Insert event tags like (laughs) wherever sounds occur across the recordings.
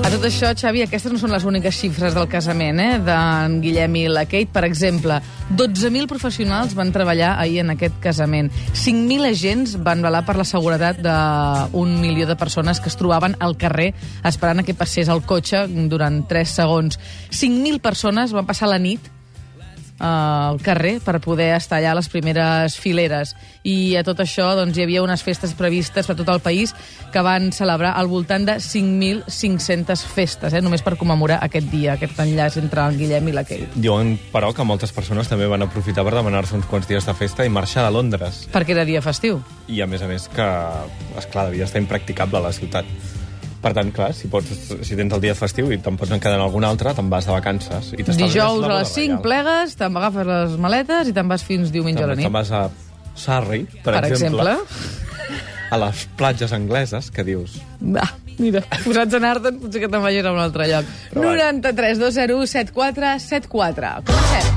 A tot això, Xavi, aquestes no són les úniques xifres del casament, eh? D'en Guillem i la Kate, per exemple. 12.000 professionals van treballar ahir en aquest casament. 5.000 agents van velar per la seguretat d'un milió de persones que es trobaven al carrer esperant a que passés el cotxe durant 3 segons. 5.000 persones van passar la nit eh, al carrer per poder estar allà a les primeres fileres. I a tot això doncs, hi havia unes festes previstes per tot el país que van celebrar al voltant de 5.500 festes, eh, només per commemorar aquest dia, aquest enllaç entre el Guillem i la Kate. Diuen, però, que moltes persones també van aprofitar per demanar-se uns quants dies de festa i marxar de Londres. Perquè era dia festiu. I, a més a més, que, esclar, devia estar impracticable a la ciutat. Per tant, clar, si, pots, si tens el dia festiu i te'n pots quedar en algun altre, te'n vas de vacances. I t'estalvies Dijous a la boda les 5 reial. plegues, te'n agafes les maletes i te'n vas fins diumenge a la Te'n te'n nit. vas a Surrey, per, Per exemple. a les platges angleses, que dius... Va, mira, (laughs) posats a anar-te'n, potser que te'n vagis a un altre lloc. Però va. 93 201 7474. Comencem.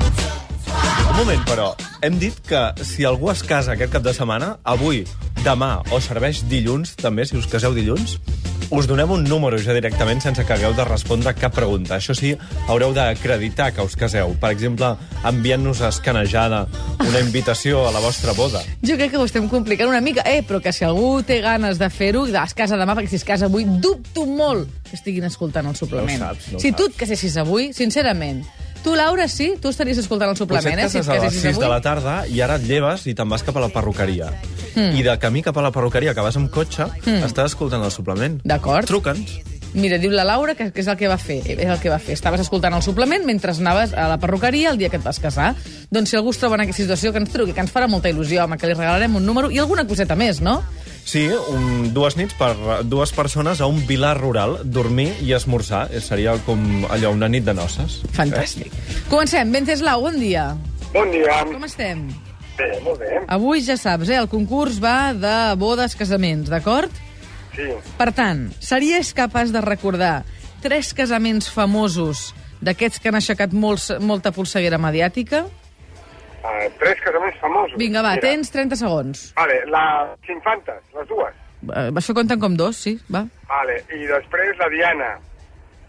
Un moment, però, hem dit que si algú es casa aquest cap de setmana, avui, demà o serveix dilluns, també, si us caseu dilluns, us donem un número ja directament sense que hagueu de respondre cap pregunta. Això sí, haureu d'acreditar que us caseu. Per exemple, enviant-nos escanejada una invitació a la vostra boda. Jo crec que ho estem complicant una mica, eh, però que si algú té ganes de fer-ho, es casa demà, perquè si es casa avui, dubto molt que estiguin escoltant el suplement. No ho saps, no ho si tu saps. et casessis avui, sincerament, tu, Laura, sí, tu estaries escoltant el suplement, eh, si et Potser et cases a les casessis 6 de avui. la tarda i ara et lleves i te'n vas cap a la perruqueria. Hmm. Mm. I de camí cap a la perruqueria, que vas amb cotxe, mm. estàs escoltant el suplement. D'acord. Truca'ns. Mira, diu la Laura que, que és el que va fer. Eh, És el que va fer. Estaves escoltant el suplement mentre anaves a la perruqueria el dia que et vas casar. Doncs si algú es troba en aquesta situació, que ens truqui, que ens farà molta il·lusió, home, que li regalarem un número i alguna coseta més, no? Sí, un, dues nits per dues persones a un vilar rural, dormir i esmorzar. Eh, Seria com allò, una nit de noces. Fantàstic. Comencem. Venceslau, bon dia. Bon dia. Com estem? Bé, molt bé. Avui ja saps, eh, el concurs va de bodes, casaments, d'acord? Sí. Per tant, series capaç de recordar tres casaments famosos d'aquests que han aixecat molts, molta polseguera mediàtica? Uh, tres casaments famosos. Vinga, va, Mira. tens 30 segons. Vale, les infantes, les dues. Eh, Això compten com dos, sí, va. Vale, i després la Diana.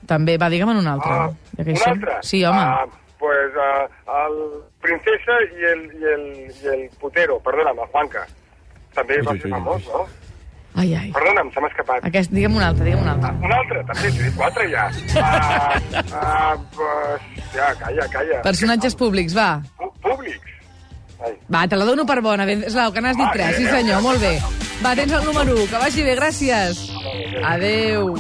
També, va, digue'm un altre. Ah, Ja que hi un som. altre? Sí, home. Ah, pues uh, el Princesa i el, i el, i el Putero, perdona'm, el Juanca. També Ui, va ui, ser ui, famós, no? Ai, ai. Perdona'm, se m'ha escapat. Aquest, digue'm un altre, digue'm un altre. Un altre, també, sí, quatre ja. Ah, ah, pues, ja, calla, calla. Personatges públics, va. Pú- Públics. Ai. Va, te la dono per bona, Venceslau, que n'has dit tres. Sí, senyor, molt bé. Va, tens el número 1, que vagi bé, gràcies. Adeu.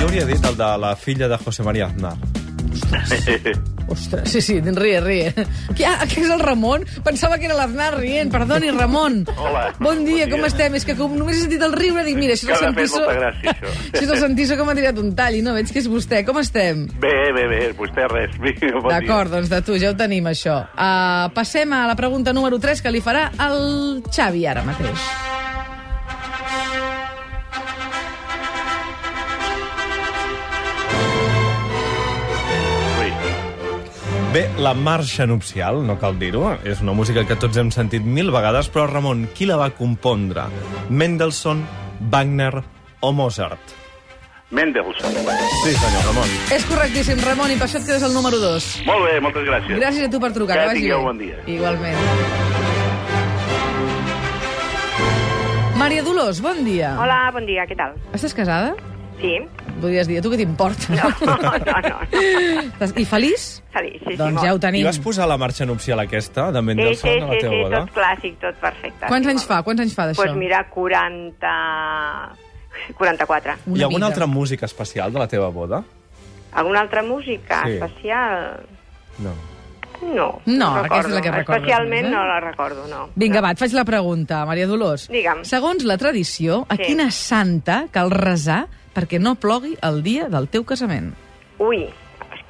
Jo hauria dit el de la filla de José María Aznar. Ostres, sí, sí, rie, rie. Qui, ah, que és el Ramon? Pensava que era l'Aznar rient. Perdoni, Ramon. Hola. Bon dia, Bon com dia. estem? És que com només he sentit el riure, dic, mira, això és Que el m'ha fet Santiso... molta gràcia, això. (laughs) Això és el Santiso que m'ha tirat un tall i no veig que és vostè. Com estem? Bé, bé, bé, vostè res. Vinga, bon D'acord, doncs de tu, ja ho tenim, això. Uh, passem a la pregunta número 3 que li farà el Xavi ara mateix. dia. Ui. Bé, la marxa nupcial, no cal dir-ho, és una música que tots hem sentit mil vegades, però, Ramon, qui la va compondre? Mendelssohn, Wagner o Mozart? Mendelssohn. Sí, senyor Ramon. És correctíssim, Ramon, i per això et quedes el número 2. Molt bé, moltes gràcies. Gràcies a tu per trucar, que, Que vagi tingueu bé. bon dia. Igualment. Maria Dolors, bon dia. Hola, bon dia, què tal? Estàs casada? Sí? Podries dir, a tu què t'importa? No, no, no. Estàs- I feliç? Feliç, sí, sí, doncs ja ho molt. I tenim. vas posar la marxa nupcial aquesta, de Sí, sí, Mendelssohn, a sí, la teva sí, boda? tot clàssic, tot perfecte. Quants sí, anys molt. fa? Quants anys fa d'això? pues mira, 40... 44. Una Hi ha alguna vida. altra música especial de la teva boda? Alguna altra música Sí. especial? No. No. No, recordo. aquesta és la que recordes Especialment més, eh? no la recordo, no. Vinga, no. va, et faig la pregunta, Maria Dolors. Digue'm. Segons la tradició, a Sí. quina santa cal resar perquè no plogui el dia del teu casament? Ui,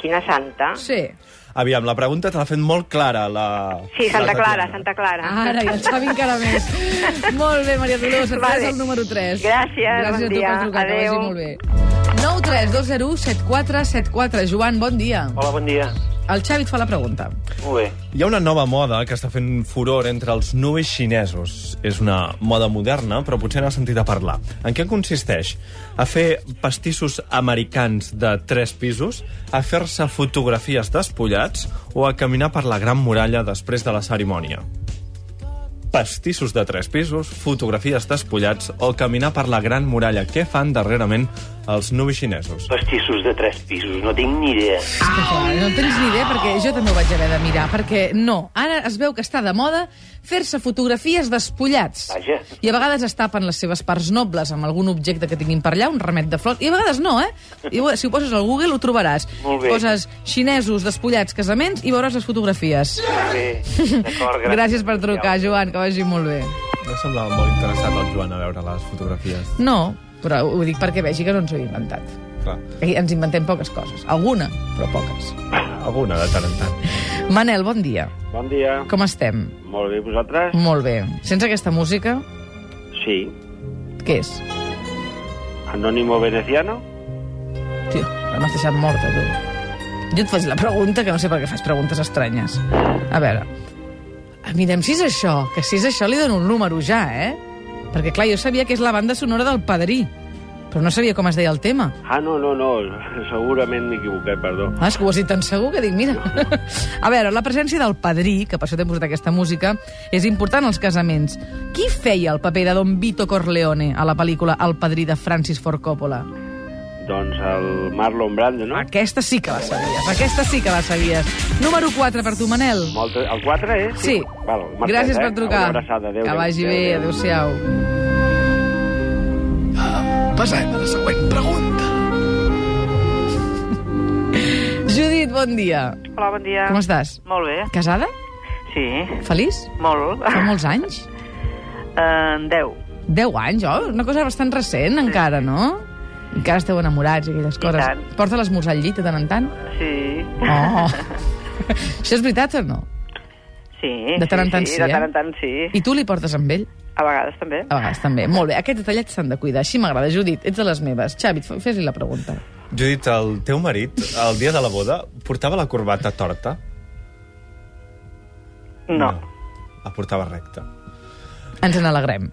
quina santa. Sí. Aviam, la pregunta te l'ha fet molt clara, la... Sí, Santa la Clara, Tatiana. Santa Clara. Ara, i el Xavi encara (laughs) més. molt bé, Maria Dolors, et Vale. vale. el número 3. Gràcies, Gràcies bon a tu dia. per trucar, que Adéu. vagi molt bé. 9 3 2 0 7 4 7 4. Joan, bon dia. Hola, bon dia. El Xavi et fa la pregunta. Molt bé. Hi ha una nova moda que està fent furor entre els nuvis xinesos. És una moda moderna, però potser n'ha sentit a parlar. En què consisteix? A fer pastissos americans de tres pisos, a fer-se fotografies despullats o a caminar per la Gran Muralla després de la cerimònia. Pastissos de tres pisos, fotografies despullats o caminar per la Gran Muralla. Què fan darrerament els nuvis xinesos? Pastissos de tres pisos, no tinc ni idea. Escolta, No en tens ni idea, perquè jo també ho vaig haver de mirar, perquè no, ara es veu que està de moda fer-se fotografies despullats. Vaja. I a vegades es tapen les seves parts nobles amb algun objecte que tinguin per allà, un remet de flor, i a vegades no, eh? I, ho- si ho poses al Google ho trobaràs. Molt bé. Poses xinesos despullats casaments i veuràs les fotografies. Molt bé, d'acord, gràcies. Gràcies per trucar, Joan, que vagi molt bé. No semblava molt interessat el Joan a veure les fotografies. No, però ho dic perquè vegi que no ens ho he inventat. Clar, Aquí ens inventem poques coses. Alguna, però poques. alguna de tant en tant. Manel, bon dia. Bon dia. Com estem? Molt bé, vosaltres? Molt bé. Sents aquesta música? Sí. Què és? Anónimo veneciano? Tio, ara m'has deixat morta, tu. Jo et faig la pregunta, que no sé per què fas preguntes estranyes. A veure, ah, mirem si és això, que si és això li dono un número ja, eh? Perquè, clar, jo sabia que és la banda sonora del Padrí, però no sabia com es deia el tema. Ah, no, no, no, (laughs) segurament m'he equivocat, perdó. Ah, és que ho has dit tan segur que dic, mira... (laughs) A veure, la presència del padrí, que per això t'hem posat aquesta música, és important als casaments. Qui feia el paper de Don Vito Corleone a la pel·lícula El padrí de Francis Ford Coppola? Doncs el Marlon Brando, no? Aquesta sí que la sabies, aquesta sí que la sabies. Número 4 per tu, Manel. Molt... El 4 és? Sí. Val, marxem, Gràcies eh? per trucar. Una abraçada, adéu. que vagi bé, adéu-siau. Ah, Passem a la següent pregunta. (laughs) Judit, bon dia. Hola, bon dia. Com estàs? Molt bé, Casada? sí, Feliç? molt. Eh, Fa molts anys? En 10. 10 anys, oh? Una cosa bastant recent, encara, no? Encara esteu enamorats i aquelles coses. tant. Porta l'esmorzar al llit de tant en tant? Sí. (laughs) Oh! Això és veritat o no? Sí, De tant en tant sí, sí, de eh? Ah. tant en tant sí. I tu li portes amb ell? A vegades també. A vegades també. Molt bé, aquests detallets s'han de cuidar. Així m'agrada, Judit, ets de les meves. Xavi, et fa- fes-li la pregunta. Judit, el teu marit, el dia de la boda, portava la corbata torta? No. La portava recta. Ens n'alegrem.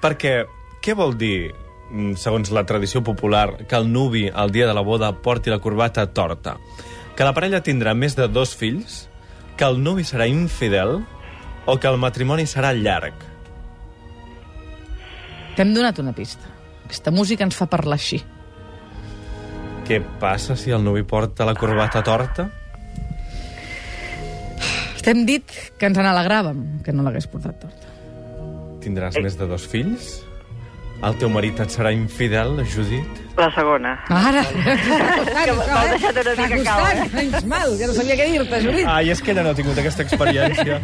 Perquè què vol dir, mm, segons la tradició popular, que el nuvi el dia de la boda porti la corbata torta? Que la parella tindrà més de dos fills? Que el nuvi serà infidel? O que el matrimoni serà llarg? T'hem donat una pista. Aquesta música ens fa parlar així. Què passa si el nuvi porta la corbata torta? T'hem dit que ens n'alegràvem, que no l'hagués portat torta. Tindràs més de dos fills? El teu marit et serà infidel, Judit? La segona. Ara! (laughs) Que m'has deixat una T'ha mica Ah. costat, cau, eh? menys mal, ja no sabia què dir-te, Judit. Ai, és que ella no ha tingut aquesta (laughs) experiència.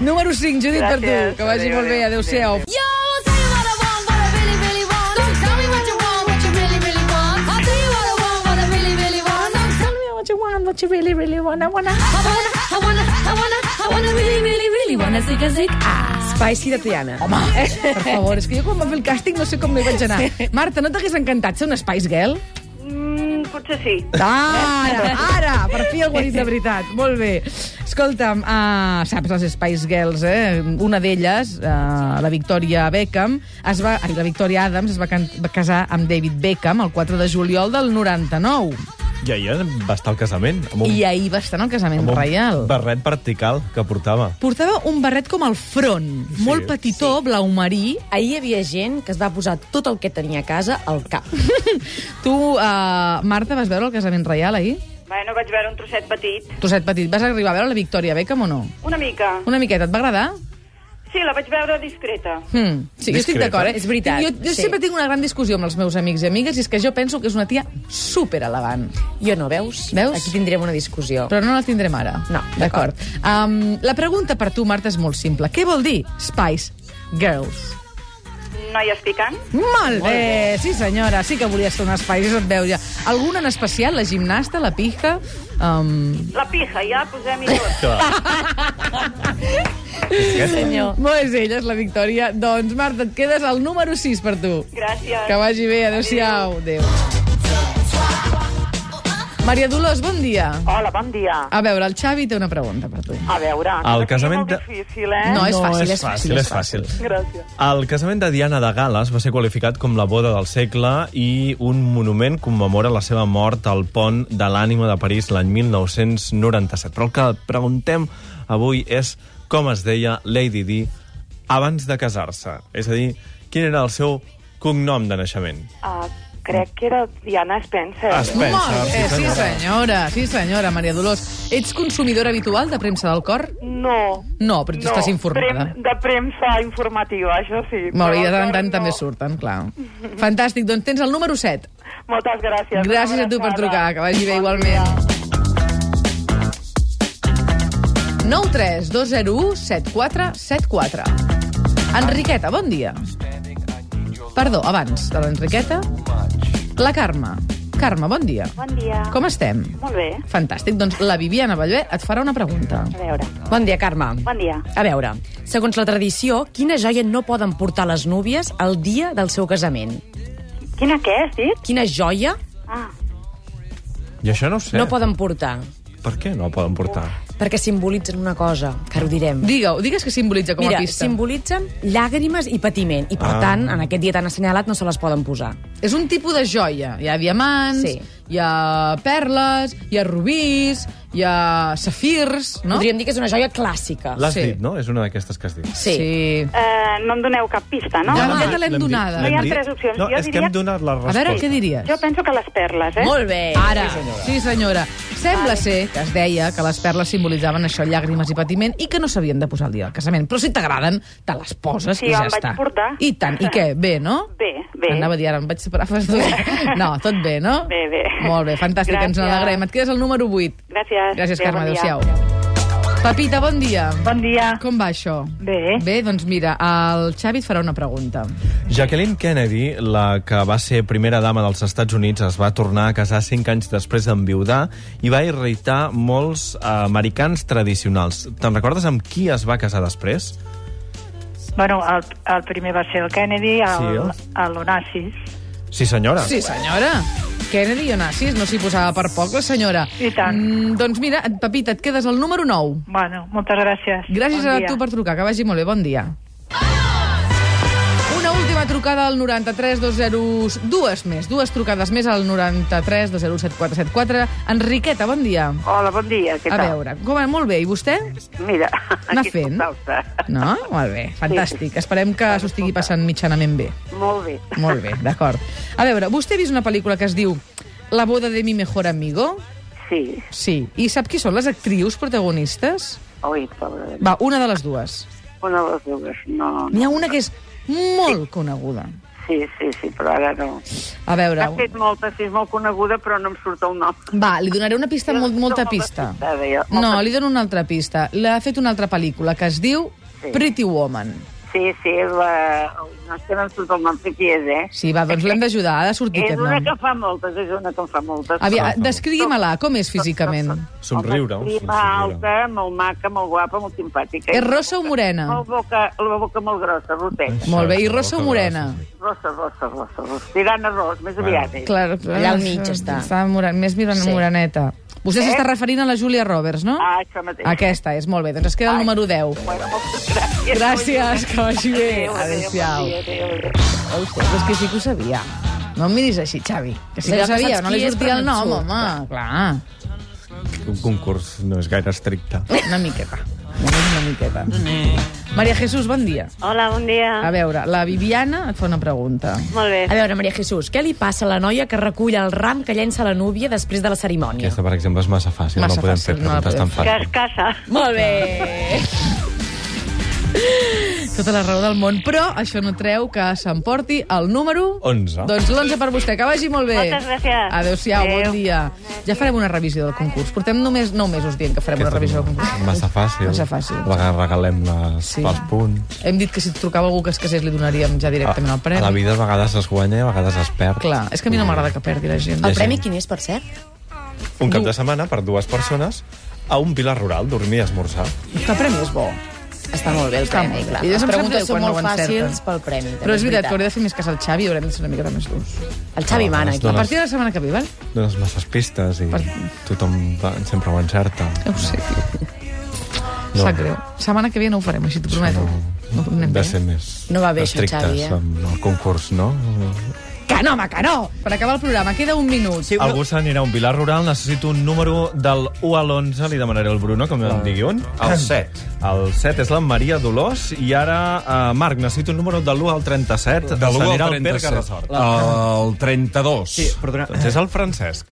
Número 5, Judit, per tu. Gràcies. Que vagi Adéu, molt bé, adéu. adéu-siau. Yo, tell you what I want, what I really, really want. So tell me what you want, what you really, really want. I'll tell you what I want, what I really, really want. So tell me what you want, what you really, really want. I wanna, I wanna, I wanna, I wanna, I wanna really, really, really wanna zig a zig. Ah. Spicy de Tiana. Home, per favor, és que jo quan va fer el càsting no sé com no hi vaig anar. Marta, no t'hagués encantat ser una Spice Girl? Mm, potser sí. Ara, ara, per fi algú ha dit de veritat. Molt bé. Escolta'm, uh, saps les Spice Girls, eh? Una d'elles, uh, la Victoria Beckham, es va, ai, la Victoria Adams es va, can, va casar amb David Beckham el 4 de juliol del 99. I ahir va estar al casament. Amb un, I ahir va estar en el casament amb un reial. barret vertical que portava. Portava un barret com al front, sí, molt petitó, sí. blau marí. Ahir hi havia gent que es va posar tot el que tenia a casa al cap. (laughs) Tu, uh, Marta, vas veure el casament reial ahir? Bueno, vaig veure un trosset petit. Trosset petit, vas arribar a veure la Victòria Beckham o no? Una mica. Una miqueta, et va agradar? Sí, la vaig veure discreta. Hmm. Sí, jo estic Discreta. d'acord, eh? És veritat, Jo, jo sí. sempre tinc una gran discussió amb els meus amics i amigues i és que jo penso que és una tia super elegant. Jo no, veus? Veus? Aquí tindrem una discussió. Però no la tindrem ara. No, d'acord. d'acord. Um, la pregunta per tu, Marta, és molt simple. Què vol dir Spice Girls? Noies picant? Molt bé, sí senyora, sí que volia ser un espai, ja se't veu ja. Alguna en especial, la gimnasta, la pija? Um... La pija, ja posem-hi tot. senyor. No és ella, és la Victòria. Doncs, Marta, et quedes al número 6 per tu. Gràcies. Que vagi bé, adeu-siau. Adéu. Maria Dolors, bon dia. Hola, bon dia. A veure, el Xavi té una pregunta per tu. A veure, El casament de... de- difícil, eh? Eh? No, és fàcil, és fàcil, és és fàcil. Gràcies. El casament de Diana de Gales va ser qualificat com la boda del segle i un monument commemora la seva mort al pont de l'ànima de París l'any 1997. Però el que et preguntem avui és com es deia Lady Di abans de casar-se. És a dir, quin era el seu cognom de naixement? Uh, crec que era Diana Spencer. Ah, Ah, Spencer, Molt bé, sí sí, senyora, sí senyora, Maria Dolors. Ets consumidora habitual de premsa del cor? No. No, però tu estàs informada. Prem, de premsa informativa, això sí. Molt bé, i de tant en Però, tant no. també surten, clar. Fantàstic, doncs tens el número 7. Moltes gràcies. Gràcies Una a tu per abraçada. trucar, que vagi bé igualment. 9 3 2 0 1 7 4 7 4 Enriqueta, bon dia. Perdó, abans de l'Enriqueta, la Carme. Carme, bon dia. Bon dia. Com estem? Molt bé. Fantàstic. Doncs la Viviana Ballbé et farà una pregunta. A veure. Bon dia, Carme. Bon dia. A veure, segons la tradició, quina joia no poden portar les núvies el dia del seu casament? Quina què has dit? Quina joia Eh. Ah. I això no ho sé. no poden portar? Per què no el poden portar? Perquè simbolitzen una cosa, que ara ho direm. Digue-ho, digues que simbolitza com a Mira, pista. simbolitzen llàgrimes i patiment, i per Ah. tant, en aquest dia tan assenyalat no se les poden posar. És un tipus de joia. Hi ha diamants, sí. hi ha perles, hi ha rubís, hi ha safirs, no? Podríem dir que és una joia clàssica. L'has dit, no? És una d'aquestes que has dit. Sí. sí. Eh, no em doneu cap pista, no? Ja, No, aquesta l'hem l'hem donada. dit, No hi ha l'hem dit. tres opcions. No, jo és que diria... hem donat la A veure, resposta. què diries? Jo penso que les perles, eh? Molt bé. Ara, sí senyora. Sembla ser que es deia que les perles simbolitzaven això, llàgrimes i patiment, i que no s'havien de posar el dia del casament. Però si t'agraden, te les poses Sí, i ja em vaig està. portar. I tant. I què? Bé, no? Bé, bé. Anava a dir, ara em vaig separar. (laughs) fas dos. No, tot bé, no? Bé, bé. Molt bé, fantàstic, ens Gràcies. n'alegrem. Et quedes el número 8. Gràcies. Gràcies, Carme. Adéu, bon dia. Adéu-siau. Pepita, bon dia. Bon dia. Com va això? Bé. Bé, doncs mira, el Xavi et farà una pregunta. Jacqueline Kennedy, la que va ser primera dama dels Estats Units, es va tornar a casar cinc anys després d'enviudar i va irritar molts eh, americans tradicionals. Te'n recordes amb qui es va casar després? Bueno, el, el primer va ser el Kennedy, el, Sí, sí, el- el... Onassis. Sí, senyora. Sí, senyora. Kennedy i Onassis, no s'hi posava per poc, la senyora. I tant. Mm, doncs mira, et- Pepita, et quedes al número 9. Bueno, moltes gràcies. Gràcies Bon bon a dia. tu per trucar, que vagi molt bé, bon dia. Una última trucada al 93 201... Dues més, dues trucades més al 93 201 7474. Enriqueta, bon dia. Hola, bon dia, què a tal? veure, com va? Molt bé, i vostè? Mira, Anar aquí fent? escoltant-te. No? Molt bé, fantàstic. Esperem que s'ho estigui passant mitjanament bé. Molt bé. Molt bé, d'acord. A veure, vostè ha vist una pel·lícula que es diu La boda de mi mejor amigo? Sí. Sí. I sap qui són les actrius protagonistes? Oi, pobra de mi. Va, una de les dues. Una de les dues, no. N'hi ha una que és molt coneguda. Sí, sí, sí, però ara no. A veure... Has fet molta, sí, és molt coneguda, però no em surt el nom. Va, li donaré una pista, molt, molta pista. Ara ja. No, li dono una altra pista. L'ha fet una altra pel·lícula que es diu Sí. Pretty Woman. Sí, sí, és la... Ui, No és que no em surt el nom, sé qui és, eh? Sí, va, doncs l'hem d'ajudar, ha de sortir És aquest una nom. que fa moltes, és una que en fa moltes. Avia, descrigui-me-la, com és físicament? Somriure. Prima, alta, molt maca, molt guapa, molt simpàtica. És rosa o morena? Molt boca, la boca molt grossa, rotet. Molt bé, i rosa o morena? Rosa, rosa, rosa, rosa. Tirant a ros, més aviat. eh? Clar, clar, Allà al mig està. està moren, més mirant Sí. sí. moreneta. Vostè Eh? s'està referint a la Julia Roberts, no? Ah, això mateix. Aquesta és, molt bé. Doncs es queda el número 10. Gràcies. Gràcies, que vagi bé. Adéu, adéu, Adéu-siau. bon dia, adéu. Hòstia, però és que sí que ho sabia. No em miris així, Xavi. Que sí que Allò ho que sabia, saps no li qui és, sortia però el no et nom, surt. home. Clar, Un concurs no és gaire estricte. una miqueta. Només una miqueta. Maria Jesús, bon dia. Hola, bon dia. A veure, la Viviana et fa una pregunta. Molt bé. A veure, Maria Jesús, què li passa a la noia que recull el ram que llença la núvia després de la cerimònia? Aquesta, per exemple, és massa fàcil. Massa no podem fàcil, fer no la preguntes tan podem fàcils. casa. Molt (laughs) bé. Tota la raó del món. Però això no treu que s'emporti el número... 11. Doncs l'11 per vostè. Que vagi molt bé. Moltes gràcies. Adéu-siau, Adéu. bon dia. Ja farem una revisió del concurs. Portem només 9 mesos dient que farem una revisió del concurs. Ah, Massa fàcil. Massa fàcil. La regalem les, sí. pels punts. Hem dit que si trucava algú que es casés li donaríem ja directament el Ah, A premi. la vida a vegades es guanya i a vegades es perd. Clar, és que a mi no m'agrada que perdi la gent. El premi quin és, per cert? Un cap de setmana per dues persones a un pilar rural, dormir i esmorzar. Que premi és bo. Està molt bé el Està premi, molt bé. clar. Les I llavors em sap greu preguntes són quan no molt ho encerten. fàcils pel premi. també Però és veritat, que hauré veritat. de fer més cas al Xavi, haurem de ser una miqueta més durs. El Xavi Ah, mana, les aquí. dones. A partir de la setmana que ve, val? Dones masses pistes i tothom va, sempre ho encerta. Ja ho sé, tio. No. Sap greu. Setmana que ve no ho farem, així t'ho prometo. No, no, Hem de ser més No va bé això, estrictes Xavi, eh? amb el concurs, no? Que no, home, que no! Per acabar el programa, queda un minut. Sí, Algú s'anirà a un vilar rural, necessito un número del 1 a l'11, li demanaré al Bruno que em digui un. El set. El 7 és la Maria Dolors, i ara, eh, Marc, necessito un número de l'1 al 37, De l'1 s'anirà al al Pere 37. Carrasort. El 32. Sí, perdona. Doncs és el Francesc.